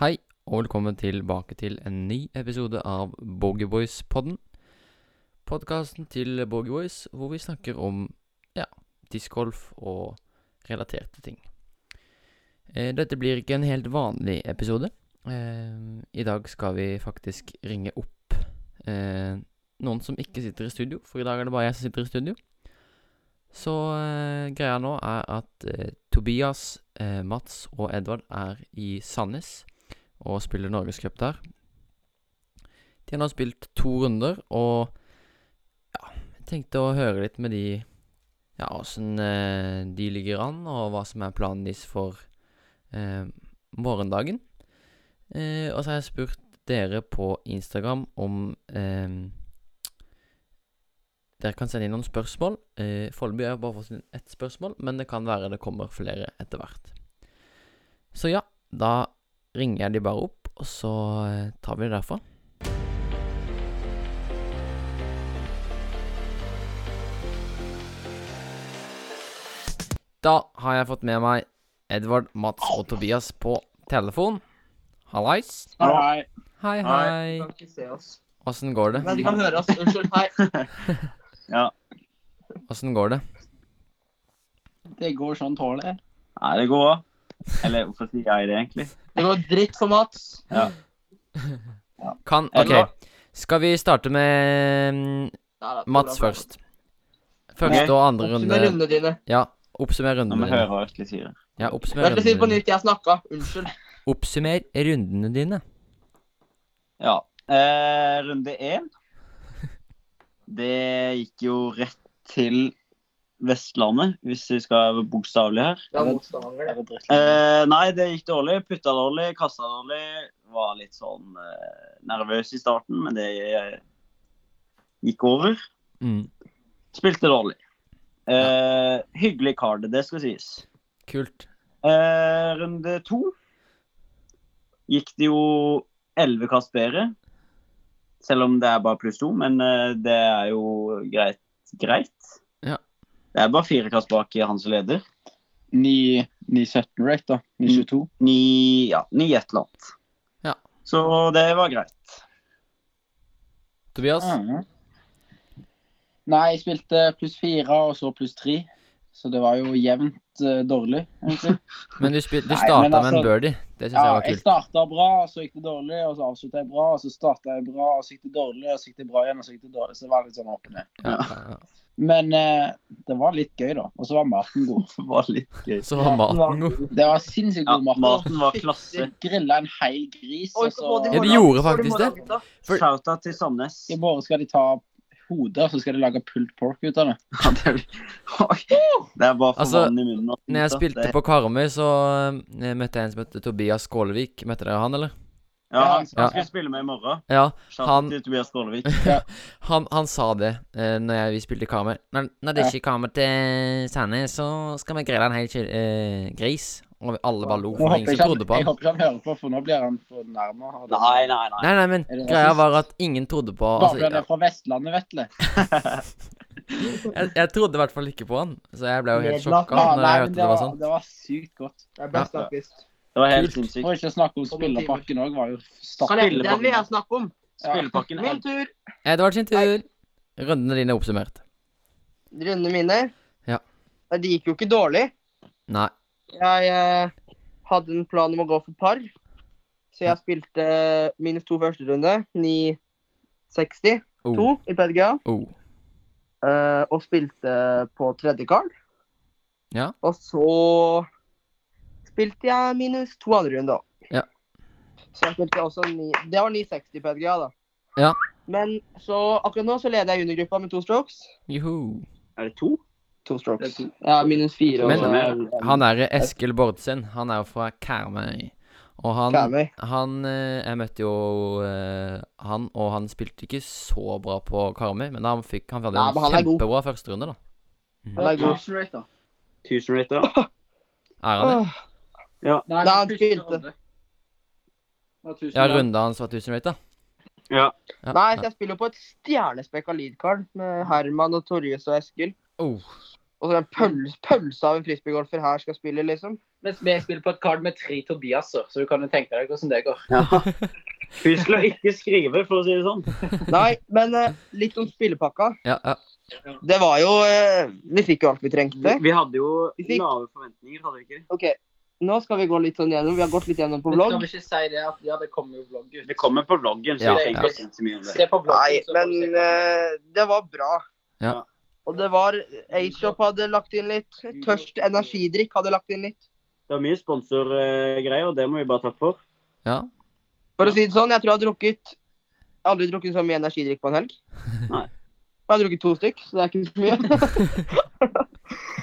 og velkommen tilbake til en ny episode av Boogieboys-podden. Podkasten til Boogieboys hvor vi snakker om ja, discgolf og relaterte ting. Eh, dette blir ikke en helt vanlig episode. Eh, I dag skal vi faktisk ringe opp eh, noen som ikke sitter i studio, for i dag er det bare jeg som sitter i studio. Så eh, greia nå er at eh, Tobias, eh, Mats og Edvard er i Sandnes og spiller Norgescup der. De har nå spilt to runder, og ja, jeg tenkte å høre litt med de ja, åssen eh, de ligger an, og hva som er planen deres for eh, morgendagen. Eh, og så har jeg spurt dere på Instagram om eh, dere kan sende inn noen spørsmål. Eh, Foreløpig har jeg bare fått inn ett spørsmål, men det kan være det kommer flere etter hvert. Så ja, da ringer jeg de bare opp, og så eh, tar vi det derfra. Da har jeg fått med meg Edvard, Mats og Tobias på telefon. Hallais. Hei. Hei, Hei. hei. De kan ikke se oss. Åssen går det? Men de kan høre oss. Unnskyld. Hei. Åssen går det? Det går sånn tåler. Nei, det går bra. Eller hvorfor sier jeg det, egentlig? Det går dritt for Mats. Kan Eller- OK. Skal vi starte med mm, Nei da, Mats Olav. først? Første og andre Oppsummer runde. rundene dine. Ja, oppsummer Når rundene vi dine. hører alt vi sier. Ja, oppsummer Jeg skal si det på rundene dine. nytt. Jeg snakka. Unnskyld. Oppsummer rundene dine. Ja. Eh, runde én. Det gikk jo rett til Vestlandet, hvis vi skal være bokstavelige her. Det er motstander, det. Eh, nei, det gikk dårlig. Putta dårlig, kasta dårlig. Var litt sånn eh, nervøs i starten, men det eh, gikk over. Mm. Spilte dårlig. Eh, hyggelig card, det skal sies. Kult. Eh, runde to gikk det jo elleve kast bedre. Selv om det er bare pluss to, men eh, det er jo greit. greit. Ja. Det er bare fire kast bak i han som leder. 9-17 rate, da. Mm. 9-22. Ni ja, ni et eller annet. Ja. Så det var greit. Tobias, Mhm. Nei, jeg spilte pluss fire og så pluss tre. Så det var jo jevnt eh, dårlig, egentlig. men du, spil- du Nei, starta men med en altså- birdie. Det syns jeg Ja, var jeg kult. starta bra, og så gikk det dårlig, og så avslutta jeg bra, og så starta jeg bra, og så gikk det dårlig, og så gikk det bra igjen, og så gikk det dårlig. Så det var litt sånn åpen. Ja, ja, ja. Men eh, det var litt gøy, da. Og så var maten god. Det var litt gøy. Så var maten god. Det var sinnssykt Ja, god mat. maten var klasse. Grilla en hel gris, Oi, og så får Ja, så de de morgen- gjorde får de faktisk det. morgengutta. For- Shouta til Sandnes. I morgen skal de ta hodet, og så skal de lage pulled pork ut av det. Ja, det er- Oi. Det er bare for Altså, vann i munnen. og- Når jeg spilte på Karmøy, så eh, møtte jeg en som het Tobias Skålevik. Møtte dere han, eller? Ja, han, Ja. han skal jeg spille med i morgen. Ja. Shout Han- til Tobias Skålevik. Han, han sa det eh, når jeg, vi spilte Karmøy. Når, når det ikke kommer til Sandnes, så skal vi grille en hel kyll- eh, gris. Og alle bare lo, Nå for håper ingen jeg, ikke som han, trodde på jeg han. håper ikke han hører på, for nå blir han fornærma. Nei, nei, nei. Nei, nei, men Er det greia rasist? var at ingen trodde på Bare altså, fordi han jeg, er fra Vestlandet, vetle. jeg, jeg trodde i hvert fall ikke på han, så jeg ble jo helt Nedlatt. sjokka når nei, jeg men hørte det det var var, sånn. det var sykt godt. Det er best snakkist. Det var helt Kult. sinnssykt. Og ikke å snakke om spillerpakken òg, var jo Kan stappfull. jeg, den vil jeg snakke om. Spillepakken Min helt tur. Edvard sin tur. Rundene dine er oppsummert. Rundene mine. Ja. Nei, Det gikk jo ikke dårlig. Nei. Jeg eh, hadde en plan om å gå for par, så jeg spilte eh, minus to første runde. 9,60. Oh, To i PDGA. oh. eh, og spilte på tredje kall. Ja. Og så spilte jeg minus to andre runde òg. Ja. Så jeg spilte også ni, Det var 960 PDGA, da. Ja. Men så akkurat nå så leder jeg juniorgruppa med to strokes. Juhu. Er det to? To strokes. Ja, minus fire. Men- og, Han er eh, Eskil Bårdsen. Han er jo fra Karmøy. Og han, Karmøy. han eh, Jeg møtte jo eh, han, og han spilte ikke så bra på Karmøy, men han fikk han hadde Nei, en men han er god. kjempebra førsterunde, da. Han er god. Tusen rate, da. Er han det? Åh, Nei, Da han tusen spilte. runde. Ja, tusen Ja, runde. runda hans var 1000 rate, da. Ja. Ja. Nei, så jeg spiller jo på et stjernespekka leadcard med Herman og Torjus og Eskil. Oh. Og så en pøls, pølse av en frisbeegolfer her skal spille, liksom. Mens vi spiller på et kart med tre Tobiaser, så du kan jo tenke deg hvordan det går. Hun skal ikke skrive, for å si det sånn. Nei, men eh, litt om spillepakka. Ja, ja. Det var jo eh, Vi fikk jo alt vi trengte. Vi hadde jo Vi fikk- lave forventninger, hadde vi ikke? Mm. OK, nå skal vi gå litt sånn gjennom. Vi har gått litt gjennom på Men vlogg. skal vi ikke si det at ja, det kommer jo vlogg ut? Det kommer på vloggen, så Ja, vi trenger ja. ikke å si så mye om det. Se sånn på vloggen. Nei, så får men du se. eh, det var bra. Ja. Og det var A-Shop hadde lagt inn litt. Tørst energidrikk hadde lagt inn litt. Det var mye sponsorgreier, og det må vi bare takke for. ja. For å si det sånn, jeg tror jeg har drukket Jeg har aldri drukket så mye energidrikk på en helg. Nei. Jeg har drukket to stykk, så det er ikke så mye.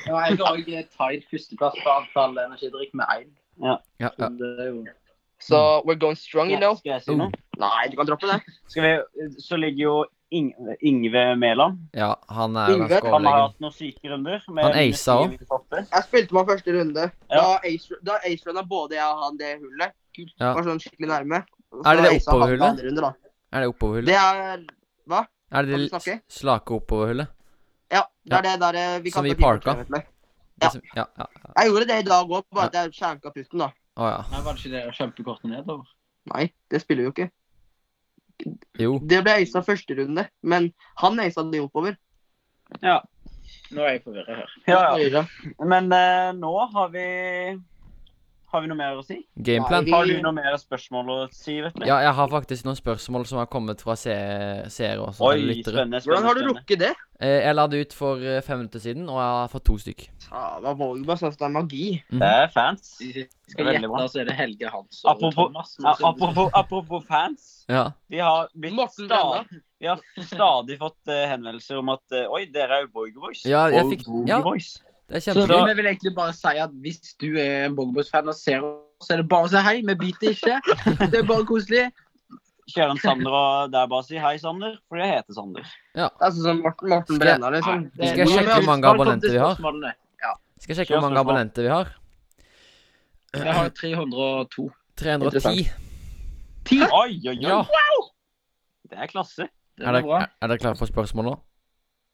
Ja, jeg har også tatt førsteplass på antall energidrikk med én. ja, ja. Det er jo Så we're going strong, you know. Skal jeg si noe? Nei, du kan droppe det. Skal vi, så ligger jo Ing Ingve Mæland. ja han er jo Yngve, ganske Han har overlegen. hatt noen syke runder. Han acea også. Jeg spilte meg første runde. Da Ja. ace- Da ace-runda både jeg og han det hullet. Ja. Var sånn skikkelig nærme. Så Er det det acea han oppoverhullet? på andre runde, da. Er det oppoverhullet? Det er Er det kan du det snakke? s- slake oppoverhullet? Ja, det er det der eh, vi Som kaster i parka? pivotklevet med. Det Ja. som- ja. ja, ja. Jeg gjorde det i dag òg, bare at jeg skjenka pusten, da. Å ja. Nei, Var det ikke det å kjempe kort nedover? Nei, det spiller vi jo ikke. Jo. Det ble acea første runde, men han acea det oppover. Nå er jeg forvirra her. Ja, ja. Men eh, nå har vi Har vi noe mer å si? Gameplan. Vi- Har du noe mer spørsmål å si, vet du? Ja, jeg har faktisk noen spørsmål som har kommet fra se- seere og sånne Oi, lyttere. spennende, spennende. Hvordan har du spennende. rukket det? Eh, Jeg la det ut for eh, fem minutter siden, og jeg har fått to stykk. Sava Vågberg sa at Ah, det er magi. Det er fans. Skal jeg Veldig bra. gjette, så er det Helge Hans og Apropos- Thomas. Ja, apropos, apropos fans. Ja. Vi har, blitt Morten stadig, vi har stadig fått eh, henvendelser om at eh, Oi, dere er jo Boyger Boys. Ja, jeg Og fikk- Boyger ja. Boys. Det er Så kjempegøy. da- vi vil egentlig bare si at hvis du er en Bogobos-fan og ser oss, så er det bare å si hei. Vi biter ikke. Det er bare koselig. Kjører en Sander og der bare si hei, Sander, for jeg heter Sander. Det er sånn som Morten, Morten Skal- Brenna, liksom. Nei, det- Skal jeg sjekke hvor mange Velkommen til abonnenter vi har? spørsmålene. Skal jeg sjekke hvor mange Kjør spørsmål. abonnenter vi har. Jeg har 302. 310. Interessant. Oi, oi, oi. Ja. Det er klasse. Det Er var dere, bra. er- er dere klare for spørsmål nå?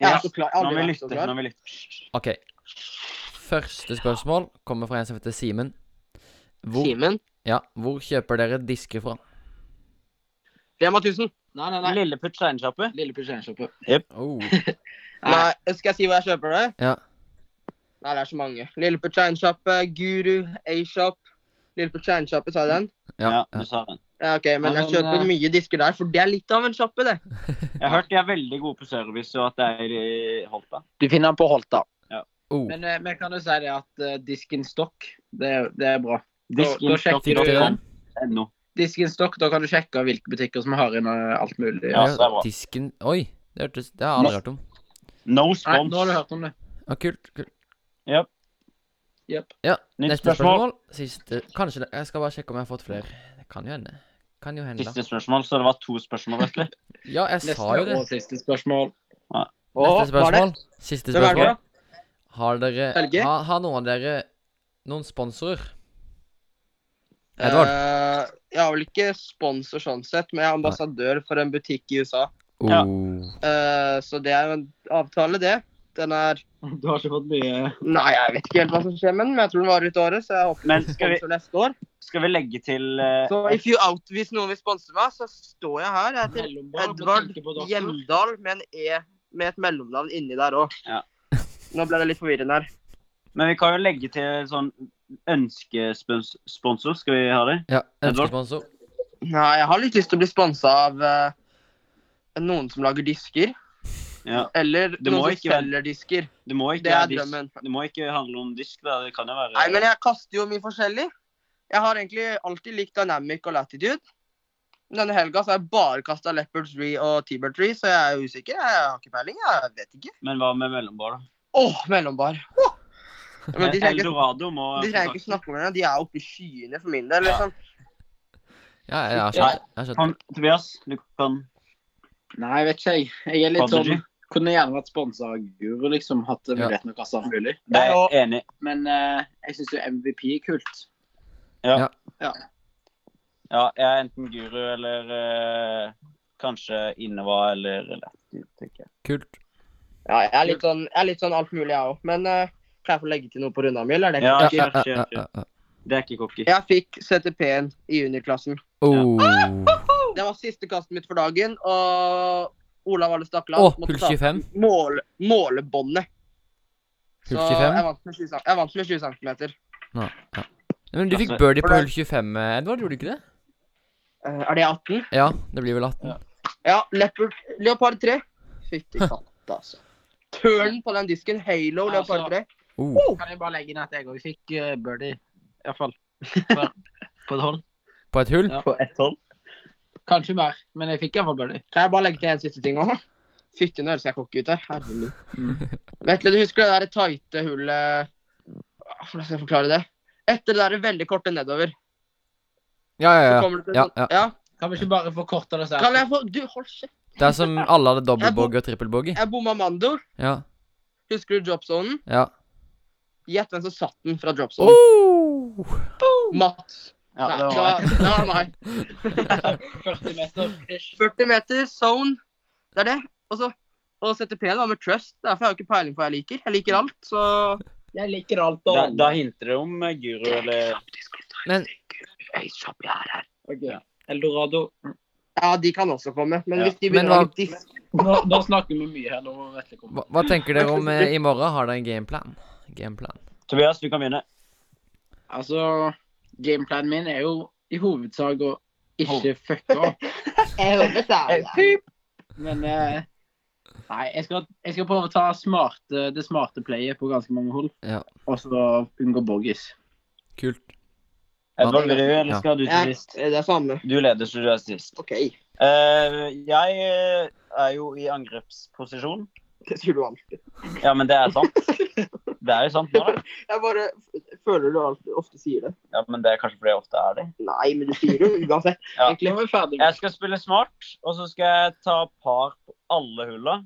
Jeg Ja, er så klar. Jeg har Nå må aldri vi vært så lytte. klar. Nå må vi lytte. OK. Første spørsmål kommer fra en som heter Simen. Hvor, Simen. ja, hvor kjøper dere disker fra? Rema 1000. Nei, nei, nei. Lilleputt steinkjappe. Lille Pusjenkjøpet. Oh. Nei, skal jeg si hvor jeg kjøper det? Ja. Nei, det er så mange. Lilleputt Steinkjappe, Guru, A-Shop. Lilleputt Steinkjappe, sa jeg den? Ja. Ja, du sa den. Ja, OK, men Ja, jeg men, kjøper eh, mye disker der, for det er litt av en sjappe, det. Jeg har hørt de er veldig gode på service, og at det er i Holta. Du finner den på Holta. Oh. Men eh, vi kan jo si det at eh, disken stokk, det, er- det er bra. da sjekker Fikk dere den? Diskinstock.no. Disken stokk, da kan du sjekke hvilke butikker som har inn eh, alt mulig. Ja, så det er bra. Disken Oi. Det, hørtes, det har jeg aldri hørt om. No Nei, nå har du spons. hørt om det. Ja, kult. kult. Yep. Nytt Neste spørsmål. spørsmål. Siste Kanskje det Jeg skal bare sjekke om jeg har fått flere. Det kan jo hende. Kan jo hende. da. Siste spørsmål, så det var to spørsmål, vet du. Ja, jeg sa jo Neste det. og siste spørsmål. Neste var det? spørsmål. Siste Hvem er det spørsmål. da? Har dere Helge? har, har noen av dere noen sponsorer? Edvard? Eh, jeg er vel ikke sponsor sånn sett, men jeg er ambassadør for en butikk i USA. ja. Oh. Eh, så det er jo en avtale, det. Den er Du har ikke fått mye Nei, jeg vet ikke helt hva som skjer med den, men jeg tror den varer ut året, så jeg håper Men den skal vi- sponsor neste år. Skal vi legge til eh, Så if you out, hvis noen vil sponse meg, så står jeg her. Jeg heter Edvard Hjemdal med en E med et mellomnavn inni der òg. Ja. Nå ble det litt forvirrende her. Men vi kan jo legge til sånn ønskesponsor. Skal vi ha det? Ja, Edvard? ønskesponsor. Nei, jeg har litt lyst til å bli sponsa av eh, noen som lager disker. Ja. Eller Det må noen som ikke være- selger disker. Det må ikke, Det er være disk- drømmen. det må ikke handle om disk. Da. Det kan jo være Nei, men jeg kaster jo mye forskjellig. Jeg har egentlig alltid likt Dynamic og Latitude. Men Denne helga så har jeg bare kasta Leopard 3 og T-Bird 3, så jeg er usikker. Jeg har ikke peiling. Jeg vet ikke. Men hva med mellombar, da? Åh, mellombar. Åh! Men de trenger, ikke- Eldorado må de trenger ikke snakke om det. De er oppe i skyene for min del. liksom. Ja, jeg har Ja. skjønt. Jeg har skjønt. Han, Tobias, du kan Nei, jeg vet ikke, jeg. Jeg er litt Prodigy. sånn Kunne gjerne vært sponsa av Guru, liksom. Hatt muligheten til å kaste alt mulig. Det er og- jeg enig. i. Men eh, jeg syns jo MVP er kult. Ja, jeg er enten guru eller eh, kanskje Innova eller eller, tenker jeg. Kult. Ja, jeg er litt sånn, jeg er litt sånn alt mulig, jeg òg. Men eh, kan jeg få legge til noe på runda mi, eller er det Ja, ikke? ja. Ja, kjør, kjør. Det er ikke cocky. Jeg fikk CTP-en i juniorklassen. Oh. Det var siste kastet mitt for dagen, og Olav Alle Stakkeland Å, hull 25. måle, målebåndet. Så Hull jeg 25. vant med 20 cent- jeg vant med 20 cm. Nei, ja. Nei, Men du fikk birdie på hull 25, Edvard, gjorde du ikke det? Eh, er det 18? Ja, det blir vel 18. Ja, leopard, leopard 3. Fytti katta, altså. Turn på den disken. Halo Leopard 3. Oh. Kan jeg bare legge inn at jeg òg fikk uh, birdie, iallfall. På et hold. På et hull? Ja. På ett hånd. Kanskje mer, men jeg fikk iallfall birdie. Kan jeg bare legge til en siste ting òg? Fytti, nå høres jeg cocky ut her. Herregud. Vetle, du husker det der tighte hullet Hvordan skal jeg forklare det? Etter det der veldig korte nedover. Ja, ja, Så ja. kommer det til Ja, sånn, ja. ja. Kan vi ikke bare forkorte det Kan sånn? jeg få Du, hold kjeft. Det er som alle hadde dobbeltbogey og trippelbogey. Jeg bomma Mando. Ja, Husker du dropzonen? ja. Gjett hvem som satt den fra dropzonen. Oh! Mats. Ja, Nei, det det var var, det var meg. 40 meter. ish. 40 meter, zone. Det er det. Og så og CTP-en var med trust. Derfor har jeg jo ikke peiling på hva jeg liker. Jeg liker alt, så Jeg liker alt og Da, alle. da hinter det om eh, guru eller Men Ok, Eldorado. Ja, de kan også komme. Men Ja. hvis de Men begynner å hva- ha litt disk Nå, nå snakker vi mye her. nå må Vetle komme. hva, hva tenker dere om eh, i morgen? Har dere en gameplan? Gameplan. Tobias, du kan begynne. Altså, gameplanen min er jo i hovedsak å ikke fucke opp. Jeg hører det Eh, Men eh, Nei, jeg skal, jeg skal prøve å ta smarte, det smarte playet på ganske mange hold. Ja. Og så unngå bogies. Kult. Edvard, vil du, Ja. eller skal du til sist? Det er samme. Du leder, så du er sist. OK. Eh, jeg eh, er jo i angrepsposisjon. Det sier du alltid. Ja, men det er sant. Det er jo sant nå, da. Jeg bare f- føler du alltid, ofte sier det. Ja, men det er kanskje fordi jeg ofte er det. Nei, men du sier det jo uansett. Ja. Egentlig er vi ferdig med Jeg skal spille smart, og så skal jeg ta par på alle hulla.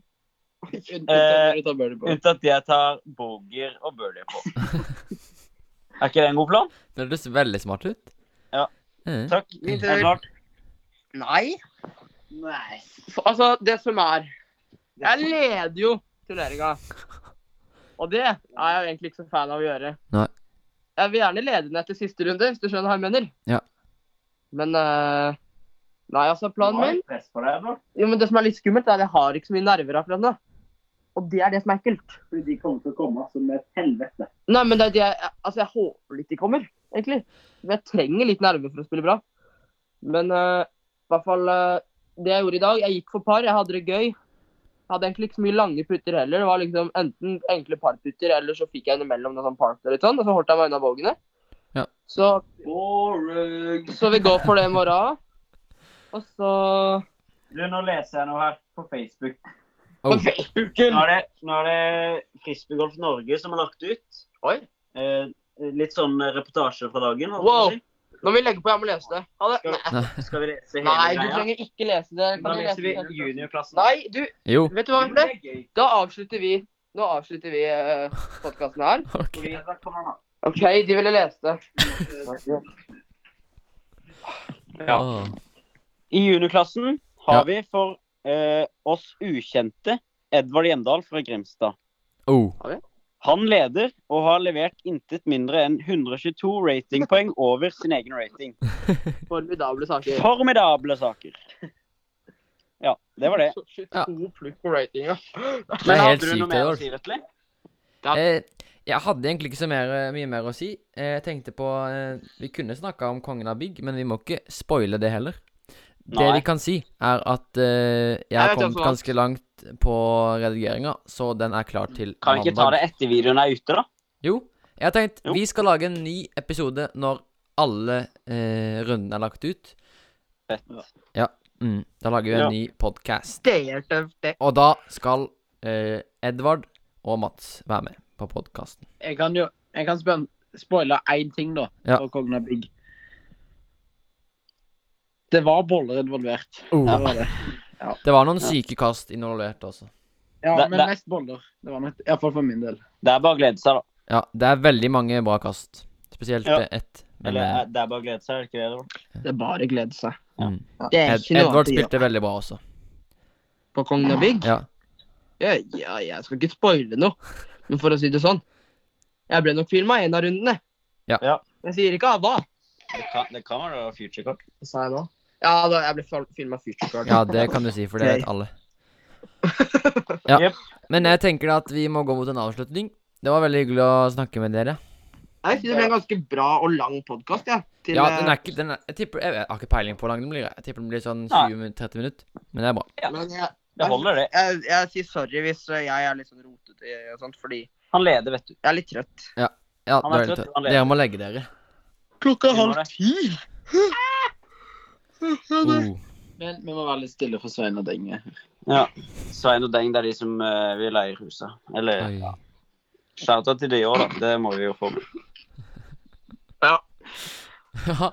unntatt når du tar birdie på. Unntatt de jeg tar boger og birdie på. Er ikke det en god plan? Det høres veldig smart ut. Ja. Eh. Takk. Min tur. Edvard. Nei. Nei. For, altså, det som er Jeg leder jo turneringa. Og det er jeg jo egentlig ikke så fan av å gjøre. Nei. Jeg vil gjerne lede den etter siste runde, hvis du skjønner hva jeg mener. Ja. Men eh, Nei, altså, Du planen har min litt press på deg, Edvard. Jo, men det som er litt skummelt, er at jeg har ikke så mye nerver akkurat nå. Og det er det som er ekkelt. Fordi de kommer til å komme som et helvete. Nei, men det er det jeg Altså, jeg håper litt de kommer, egentlig. For jeg trenger litt nerver for å spille bra. Men eh, i hvert fall eh, Det jeg gjorde i dag Jeg gikk for par. Jeg hadde det gøy. Jeg hadde egentlig ikke så mye lange putter heller. Det var liksom enten enkle parputter, eller så fikk jeg en imellom noe sånn par eller litt sånn, og så holdt jeg meg unna bogene. Ja. Så, Boring. så vi går for det i morgen. Og så Du, nå leser jeg noe her på Facebook. Oh. Nå er det, nå er det Frisbeegolf Norge som har lagt ut. Oi. Eh, litt sånn reportasje fra dagen. holdt jeg på å Wow. si. Nå må vi legge på. Jeg må lese det. Ha det. Nei, Skal vi lese hele Nei, du greia? trenger ikke lese det. Da Kan du leser lese vi det? hele? juniorklassen. Nei, du, Jo. vet du hva, Vetle? Da avslutter vi. Nå avslutter vi eh, podkasten her. OK. OK, de ville lese det. Ja. Åh. I juniorklassen har Ja. vi for eh, oss ukjente Edvard Gjendal fra Grimstad. Oh. Han leder og har levert intet mindre enn 122 ratingpoeng over sin egen rating. Formidable saker. Formidable saker. Ja, det var det. 22 pluss på ratinga. Det er helt hadde du noe sykt, mer å Edvard. si, Vetle? Eh, jeg hadde egentlig ikke så mer, mye mer å si. Eh, Jeg tenkte på eh, Vi kunne snakka om kongen av Big, men vi må ikke spoile det heller. Det Nei. vi kan si, er at eh, jeg Jeg har vet kommet også hva- ganske langt på redigeringa, så den er klar til Kan vi ikke ta det etter videoen er ute, da? Jo. Jeg har tenkt Jo. vi skal lage en ny episode når alle eh, rundene er lagt ut. Fett. Mm, da lager vi en Ja. ny podkast. Det er tøft, det. Og da skal eh, Edvard og Mats være med på podkasten. Jeg kan jo jeg kan spøn, spoile én ting, da. Ja. For Kongen av Big. Det var boller involvert. Oh. Det var det. Det var noen syke kast involvert også. Ja, Det- men det- mest boller. Det var nok, Iallfall for min del. Det er bare å glede seg, da. Ja, det er veldig mange bra kast. Spesielt Ja. eh, ett. Men Eller eh, mm. eh, det er bare å glede seg, er det ikke det? Edvard? Det er bare å glede seg. Ed Edvard spilte veldig bra også. på Kongen av Bygg. Ja. Jeg, ja, jeg skal ikke spoile noe, men for å si det sånn Jeg ble nok filma en av rundene. Ja. Ja. Jeg sier ikke av hva. Det kan, det kan være future cock. Hva sa jeg nå? Ja, da, jeg ble filma future card. Ja, det kan du si, for det vet alle. Ja. Jep. Men jeg tenker at vi må gå mot en avslutning. Det var veldig hyggelig å snakke med dere. Jeg synes det ble en ganske bra og lang podkast, jeg. Til, eh, Ja, den er ikke den er, Jeg tipper Jeg har ikke peiling på hvor lang den blir. Jeg tipper den blir sånn 20-30 minutter. Men det er bra. eh, men jeg, Det holder, det. jeg, jeg sier sorry hvis eh, jeg er litt sånn rotete og sånt, fordi Han leder, vet du. jeg er litt trøtt. Ja, det Han er var helt trøtt, tøft. han Dere må legge dere. Klokka er halv Vi må det. ti! Uh. Men vi må være litt stille for Svein og Denge. Ja. Svein og Deng, det er de som eh, vil eie huset. Eller Oi. skjæra til de òg, da. Det må vi jo få med. Ja,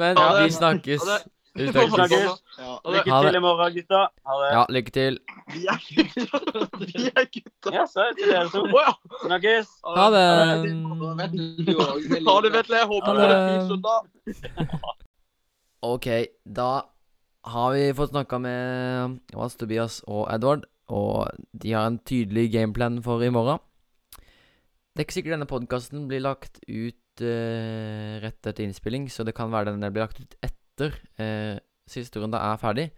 men Ha det. vi snakkes. Ha det. Vi snakkes. Snakkes. Ja. Lykke Ha det. til i morgen, gutta. Ha det. Ja, lykke til. Vi er gutta. Vi er gutta. Ja, så er det til dere to. Å ja. Snakkes. Ha det. Ha det, Vetle. Ha Jeg håper du har det. en fin søndag. OK, da har vi fått snakka med Jonas, Tobias og Edvard, og de har en tydelig gameplan for i morgen. Det er ikke sikkert denne podkasten blir lagt ut eh, rett etter innspilling, så det kan være den blir lagt ut etter eh, siste runde er ferdig.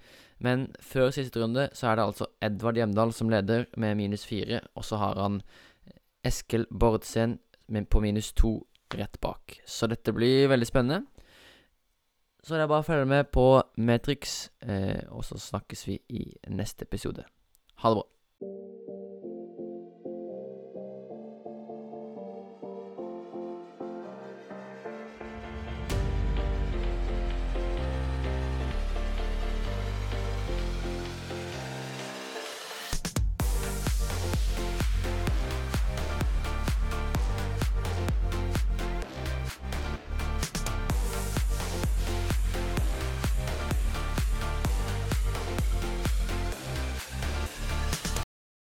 Men før siste runde så er det altså Edvard Hjemdal som leder med minus fire, og så har han Eskil Bordsen med- på minus to rett bak. Så dette blir veldig spennende. Så det er bare å følge med på Matrix, eh, og så snakkes vi i neste episode. Ha det bra.